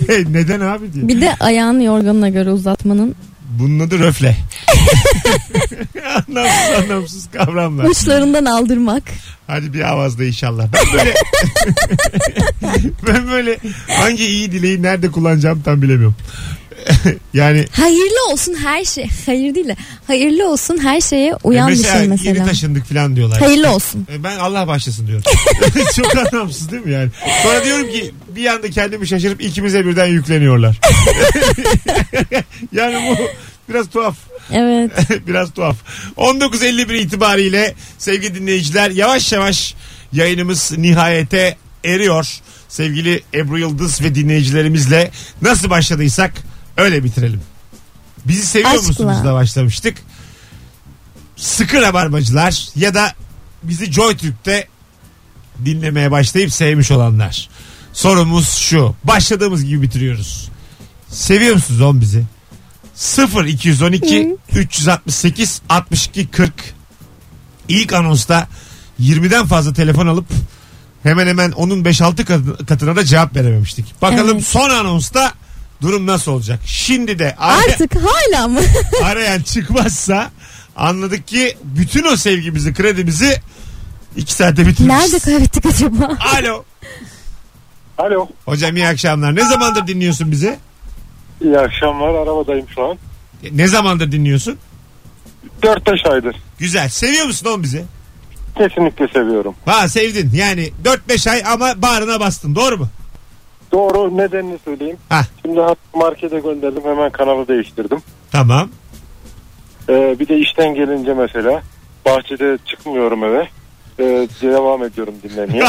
Hey, Neden abi diye. Bir de ayağını yorganına göre uzatmanın Bunun adı röfle. anlamsız anlamsız kavramlar. uçlarından aldırmak. Hadi bir avazda inşallah. Ben böyle ben böyle hangi iyi dileği nerede kullanacağım tam bilemiyorum. yani e, Hayırlı olsun her şey. Hayır değil de hayırlı olsun her şeye uyan bir E, mesela, şey yeni mesela. taşındık falan diyorlar. Hayırlı olsun. E, Ben Allah başlasın diyorum. Çok anlamsız değil mi yani? Sonra diyorum ki bir anda kendimi şaşırıp ikimize birden yükleniyorlar. yani bu biraz tuhaf. Evet. Biraz tuhaf. 19.51 itibariyle sevgili dinleyiciler yavaş yavaş yayınımız nihayete eriyor. Sevgili Ebru Yıldız ve dinleyicilerimizle nasıl başladıysak öyle bitirelim. Bizi seviyor Aşkla. musunuz da başlamıştık. Sıkı rabarbacılar ya da bizi JoyTürk'te dinlemeye başlayıp sevmiş olanlar. Sorumuz şu. Başladığımız gibi bitiriyoruz. Seviyor musunuz on bizi? 0 212 368 62 40 İlk anonsta 20'den fazla telefon alıp hemen hemen onun 5-6 katı- katına da cevap verememiştik. Bakalım Evet. son anonsta durum nasıl olacak? Şimdi de ara- Artık hala mı? arayan çıkmazsa anladık ki bütün o sevgimizi, kredimizi 2 saatte bitirmişiz. Nerede kaybettik acaba? Alo. Alo. Hocam iyi akşamlar. Ne zamandır dinliyorsun bizi? İyi akşamlar. Arabadayım şu an. Ne zamandır dinliyorsun? 4-5 aydır. Güzel. Seviyor musun oğlum bizi? Kesinlikle seviyorum. Ha sevdin. Yani 4-5 ay ama bağrına bastın. Doğru mu? Doğru nedenini söyleyeyim. Hah. Şimdi markete gönderdim hemen kanalı değiştirdim. Tamam. Ee, bir de işten gelince mesela bahçede çıkmıyorum eve. Ee, devam ediyorum dinlemeye.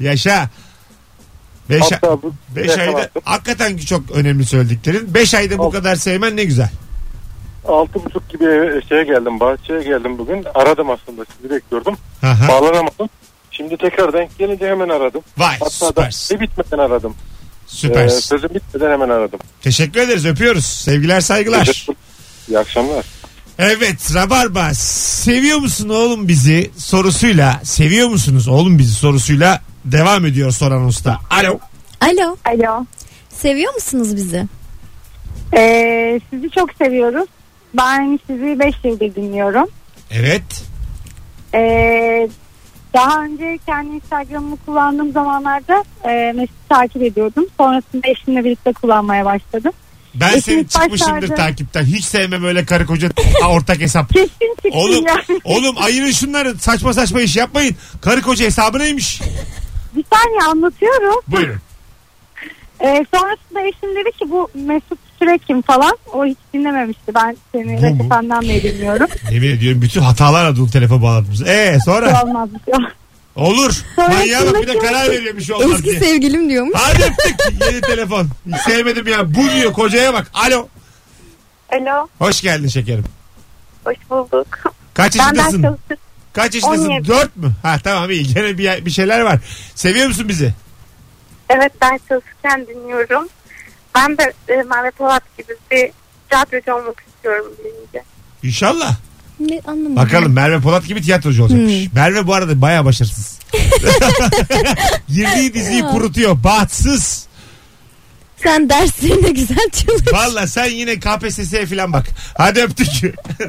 Yaşa. 5 Hatta bu ne ayda kadar? hakikaten ki çok önemli söylediklerin. 5 ayda bu Alt- kadar sevmen ne güzel. altı buçuk gibi eve- e, şeye geldim bahçeye geldim bugün. Aradım aslında sizi bekliyordum. Aha. Bağlanamadım. Şimdi tekrar denk gelince hemen aradım. Vay Hatta da süpersin. şey bitmeden aradım. Ee, Süpersin. sözüm bitmeden hemen aradım. Teşekkür ederiz öpüyoruz. Sevgiler saygılar. İyi akşamlar. Evet Rabarba seviyor musun oğlum bizi sorusuyla seviyor musunuz oğlum bizi sorusuyla devam ediyor soran usta. Alo. Alo. Alo. Seviyor musunuz bizi? Ee, sizi çok seviyoruz. Ben sizi 5 yıldır dinliyorum. Evet. Ee, daha önce kendi Instagram'ımı kullandığım zamanlarda e, Mesut'u takip ediyordum. Sonrasında eşimle birlikte kullanmaya başladım. Ben Eşim seni ilk başlarda- çıkmışımdır takipten. Hiç sevmem öyle karı koca ortak hesap. Kesin çıktı Oğlum, yani. oğlum ayırın şunları saçma saçma iş yapmayın. Karı koca hesabı neymiş? Bir saniye anlatıyorum. Buyurun. Ee, sonrasında eşim dedi ki bu Mesut Süre kim falan. O hiç dinlememişti. Ben Bu seni mu? Recep'den beri dinliyorum. Yemin ediyorum bütün hatalar adlı telefon bağladınız. Ee Bu sonra olmaz bir şey. olur. Sonra Manyağa bak bir de şimdi- karar veriyormuş onlar Eski diye. sevgilim diyormuş. Hadi öptük. Yeni telefon. Hiç sevmedim ya. Bu diyor kocaya bak. Alo. Alo. Hoş geldin şekerim. Hoş bulduk. Kaç Ben ders yaşındasın? çalışırken Kaç yaşındasın? 17. Dört mü? Ha tamam iyi. Gene bir, bir şeyler var. Seviyor musun bizi? Evet ders çalışırken dinliyorum. Ben de e, Merve Polat gibi bir radyocu olmak istiyorum birinci. İnşallah. Ne anlamadım. Bakalım Merve Polat gibi tiyatrocu olacakmış. Hmm. Merve bu arada baya başarısız. Girdiği diziyi kurutuyor. Bahtsız. Sen derslerine güzel çalış. Valla sen yine KPSS'ye falan bak. Hadi öptük.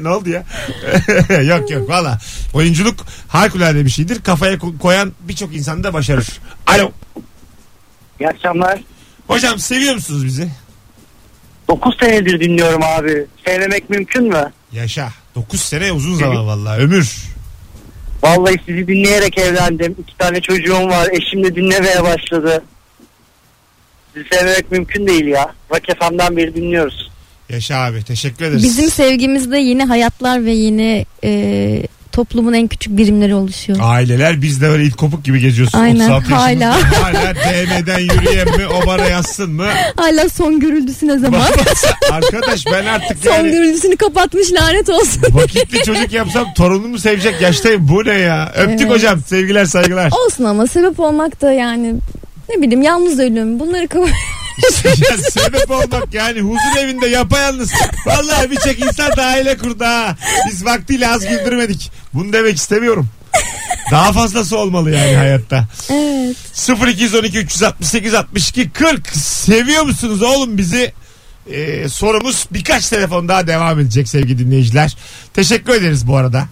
ne oldu ya? yok yok valla. Oyunculuk harikulade bir şeydir. Kafaya ko- koyan birçok insan da başarır. Alo. İyi akşamlar. Hocam seviyor musunuz bizi? 9 senedir dinliyorum abi. Sevmemek mümkün mü? Yaşa. 9 sene uzun zaman valla. Ömür. Vallahi sizi dinleyerek evlendim. İki tane çocuğum var. Eşim de dinlemeye başladı. Sizi sevmemek mümkün değil ya. Rock FM'den beri dinliyoruz. Yaşa abi. Teşekkür ederiz. Bizim sevgimizde yeni hayatlar ve yeni e, toplumun en küçük birimleri oluşuyor. Aileler biz de böyle it kopuk gibi geziyoruz. Aynen, 36 yaşımızda. hala. Hala DM'den yürüyen mi? O bana yazsın mı? Hala son görüldüsü ne zaman? Arkadaş ben artık son yani görüldüsünü kapatmış lanet olsun. vakitli çocuk yapsam torunumu sevecek yaştayım. Bu ne ya? Öptük Evet. hocam. Sevgiler saygılar. Olsun ama sebep olmak da yani ne bileyim yalnız ölüm bunları kabul ya sebep olmak yani huzur evinde yapayalnız. Vallahi birçok insan da aile kurdu ha. Biz vaktiyle az güldürmedik. Bunu demek istemiyorum. Daha fazlası olmalı yani hayatta. Evet. 0212 368 62 40 seviyor musunuz oğlum bizi? Ee, sorumuz birkaç telefon daha devam edecek sevgili dinleyiciler. Teşekkür ederiz bu arada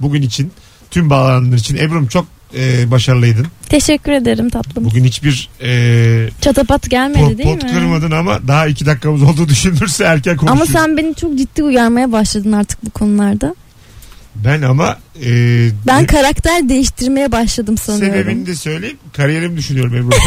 bugün için. Tüm bağlananlar için. Ebru'm çok e, başarılıydın. Teşekkür ederim tatlım. Bugün hiçbir e, Çatapat gelmedi pot, değil pot mi? kırmadın ama daha iki dakikamız olduğu düşünülürse erken konuşuruz. Ama sen beni çok ciddi uyarmaya başladın artık bu konularda. Ben ama e, Ben karakter değiştirmeye başladım sanıyorum. sebebini de söyleyeyim. Kariyerimi düşünüyorum Ebru.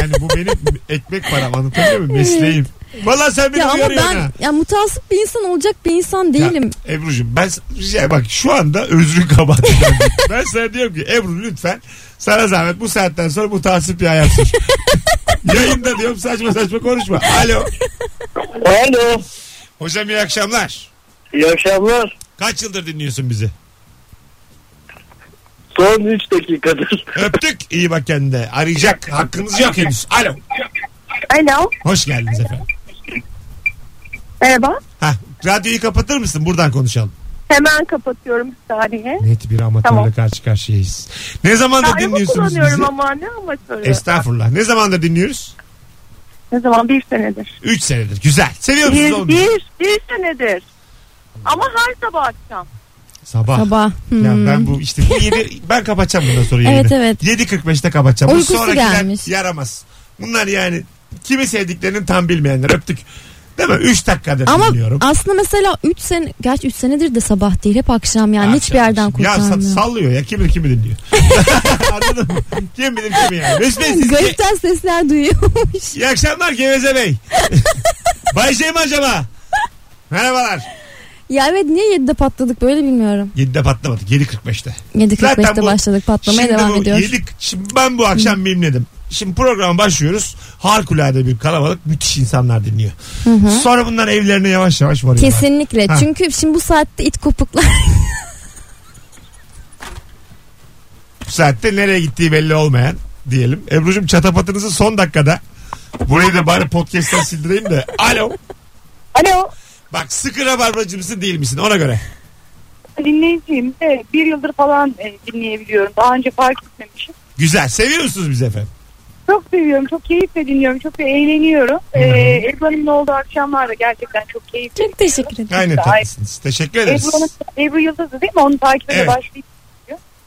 yani bu benim ekmek param anlatabiliyor muyum? Mesleğim. Valla sen beni ya ama uyarıyorsun ben ha. ya mutasip bir insan olacak bir insan değilim. Ebru'cum ben s- rica bak şu anda özrün kabahat. ben sana diyorum ki Ebru lütfen sana zahmet bu saatten sonra bu tasip bir hayat sür. Yayında diyorum saçma saçma konuşma. Alo. Alo. Hocam iyi akşamlar. İyi akşamlar. Kaç yıldır dinliyorsun bizi? Son 3 dakikadır. Öptük. İyi bak kendine. Arayacak. Hakkınız yok henüz. Alo. Alo. Hoş geldiniz efendim. Merhaba. Hah, radyoyu kapatır mısın? Buradan konuşalım. Hemen kapatıyorum bir saniye. Net bir amatörle Tamam. karşı karşıyayız. Ne zamandır Araba dinliyorsunuz kullanıyorum bizi? ama ne amatörü. Estağfurullah. Ne zamandır dinliyoruz? Ne zaman? Bir senedir. 3 senedir. Güzel. Seviyor musunuz Bir, oğlum? bizi? bir, bir senedir. Ama her sabah akşam. Sabah. Sabah. ah. Ya Hmm. ben bu işte bu yedi, ben kapatacağım bundan sonra yayını. Evet, evet. 7.45'te kapatacağım. Uykusu bu sonrakiler gelmiş. yaramaz. Bunlar yani kimi sevdiklerini tam bilmeyenler öptük. Değil mi? 3 dakikadır Ama dinliyorum. aslında mesela 3 sene gerçi 3 senedir de sabah değil hep akşam yani hiçbir Akşam. yerden Ya sa- kurtarmıyor. sallıyor ya kim bilir kimi dinliyor. Anladın mı? Kim bilir kimi yani. Mesut Bey siz ge- Garipten sesler duyuyormuş. iyi akşamlar Geveze Bey. Bay J mi acaba? Merhabalar. ya evet niye 7'de patladık böyle bilmiyorum. 7'de patlamadık. 7.45'te. Zaten 7.45'te bu- başladık patlamaya Şimdi devam bu ediyor. yedik- şimdi ben bu akşam benim dedim. Şimdi programa başlıyoruz. Harikulade bir kalabalık müthiş insanlar dinliyor. Sonra bunlar evlerine yavaş yavaş varıyorlar. Kesinlikle. Ha. Çünkü şimdi bu saatte it kopuklar. Bu saatte nereye gittiği belli olmayan diyelim. Ebru'cum çatapatınızı son dakikada burayı da bari podcast'ten sildireyim de. Alo. Alo. Bak sıkı rabarbacı mısın değil misin ona göre. Dinleyiciyim. Evet, bir yıldır falan e, dinleyebiliyorum. Daha önce fark etmemişim. Güzel. Seviyor musunuz bizi efendim? Çok seviyorum. Çok keyifle dinliyorum. Çok da eğleniyorum. Ee, Ebru Hanım'ın olduğu akşamlar da gerçekten çok keyifli. Çok teşekkür ederim. Aynen Ay. tatlısınız. Teşekkür ederiz. Ebru, Hanım, Ebru Yıldız'dı değil mi? Onu takip Evet. evet. başlayıp.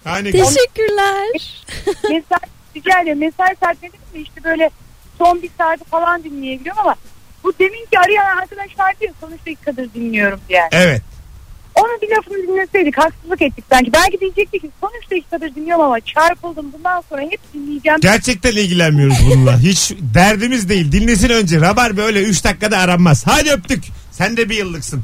Aynen. Teşekkürler. Mesai, rica ediyorum. Mesai saatlerinde mi işte böyle son bir saati falan dinleyebiliyorum ama bu demin ki arayan arkadaşlar diyor sonuçta ilk kadar dinliyorum yani. Evet. Onun bir lafını dinleseydik haksızlık ettik sanki. Belki diyecekti ki sonuçta ilk kadar dinliyorum ama çarpıldım bundan sonra hep dinleyeceğim. Gerçekten ilgilenmiyoruz bununla. Hiç derdimiz değil. Dinlesin önce. Rabar böyle 3 dakikada aranmaz. Hadi öptük. Sen de bir yıllıksın.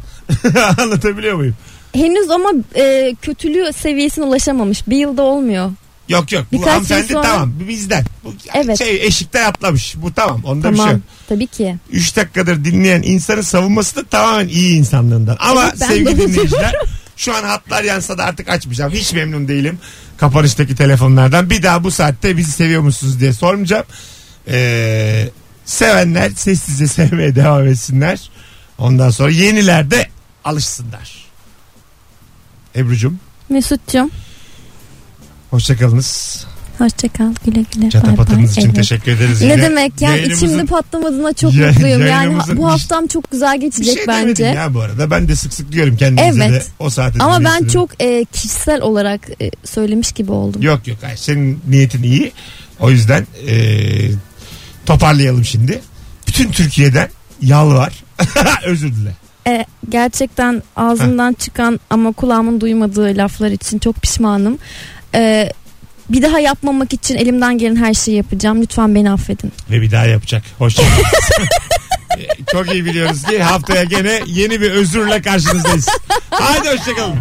Anlatabiliyor muyum? Henüz ama e, kötülüğü seviyesine ulaşamamış. Bir yılda olmuyor. Yok yok. Bu Birkaç yıl hanımefendi sonra- tamam. Bizden. Bu Evet. şey, eşikten atlamış. Bu tamam. Onda bir şey tamam. yok. Tabii ki. 3 dakikadır dinleyen insanın savunması da tamamen iyi insanlığından. Ama Evet, ben sevgili de öyle dinleyiciler şu an hatlar yansa da artık açmayacağım. Hiç memnun değilim kapanıştaki telefonlardan. Bir daha bu saatte bizi seviyor musunuz diye sormayacağım. Ee, sevenler sessizce sevmeye devam etsinler. Ondan sonra yeniler de alışsınlar. Ebru'cum Mesut'cum hoşçakalınız. Hoşçakal. Güle güle. Çatapatınız Bay bay. için Evet. teşekkür ederiz. Ne Yine demek yani yayınımızın- içimde patlamadığına çok Yay- mutluyum. Yani yayınımızın- bu haftam çok güzel geçecek Bir şey demedim bence. ya bu arada. Ben de sık sık diyorum kendinize Evet. de o saate Ama ben dinliyorsunuz. çok e, kişisel olarak e, söylemiş gibi oldum. Yok yok hayır. senin niyetin iyi. O yüzden eee, toparlayalım şimdi. Bütün Türkiye'den yalvar. Özür dile. E, gerçekten ağzımdan çıkan ama kulağımın duymadığı laflar için çok pişmanım. E, bir daha yapmamak için elimden gelen her şeyi yapacağım. Lütfen beni affedin. Ve bir daha yapacak. Hoşçakalın. E, çok iyi biliyoruz ki haftaya gene yeni bir özürle karşınızdayız. Haydi hoşçakalın.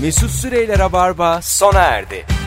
Mesut Süreyler'e barba sona erdi.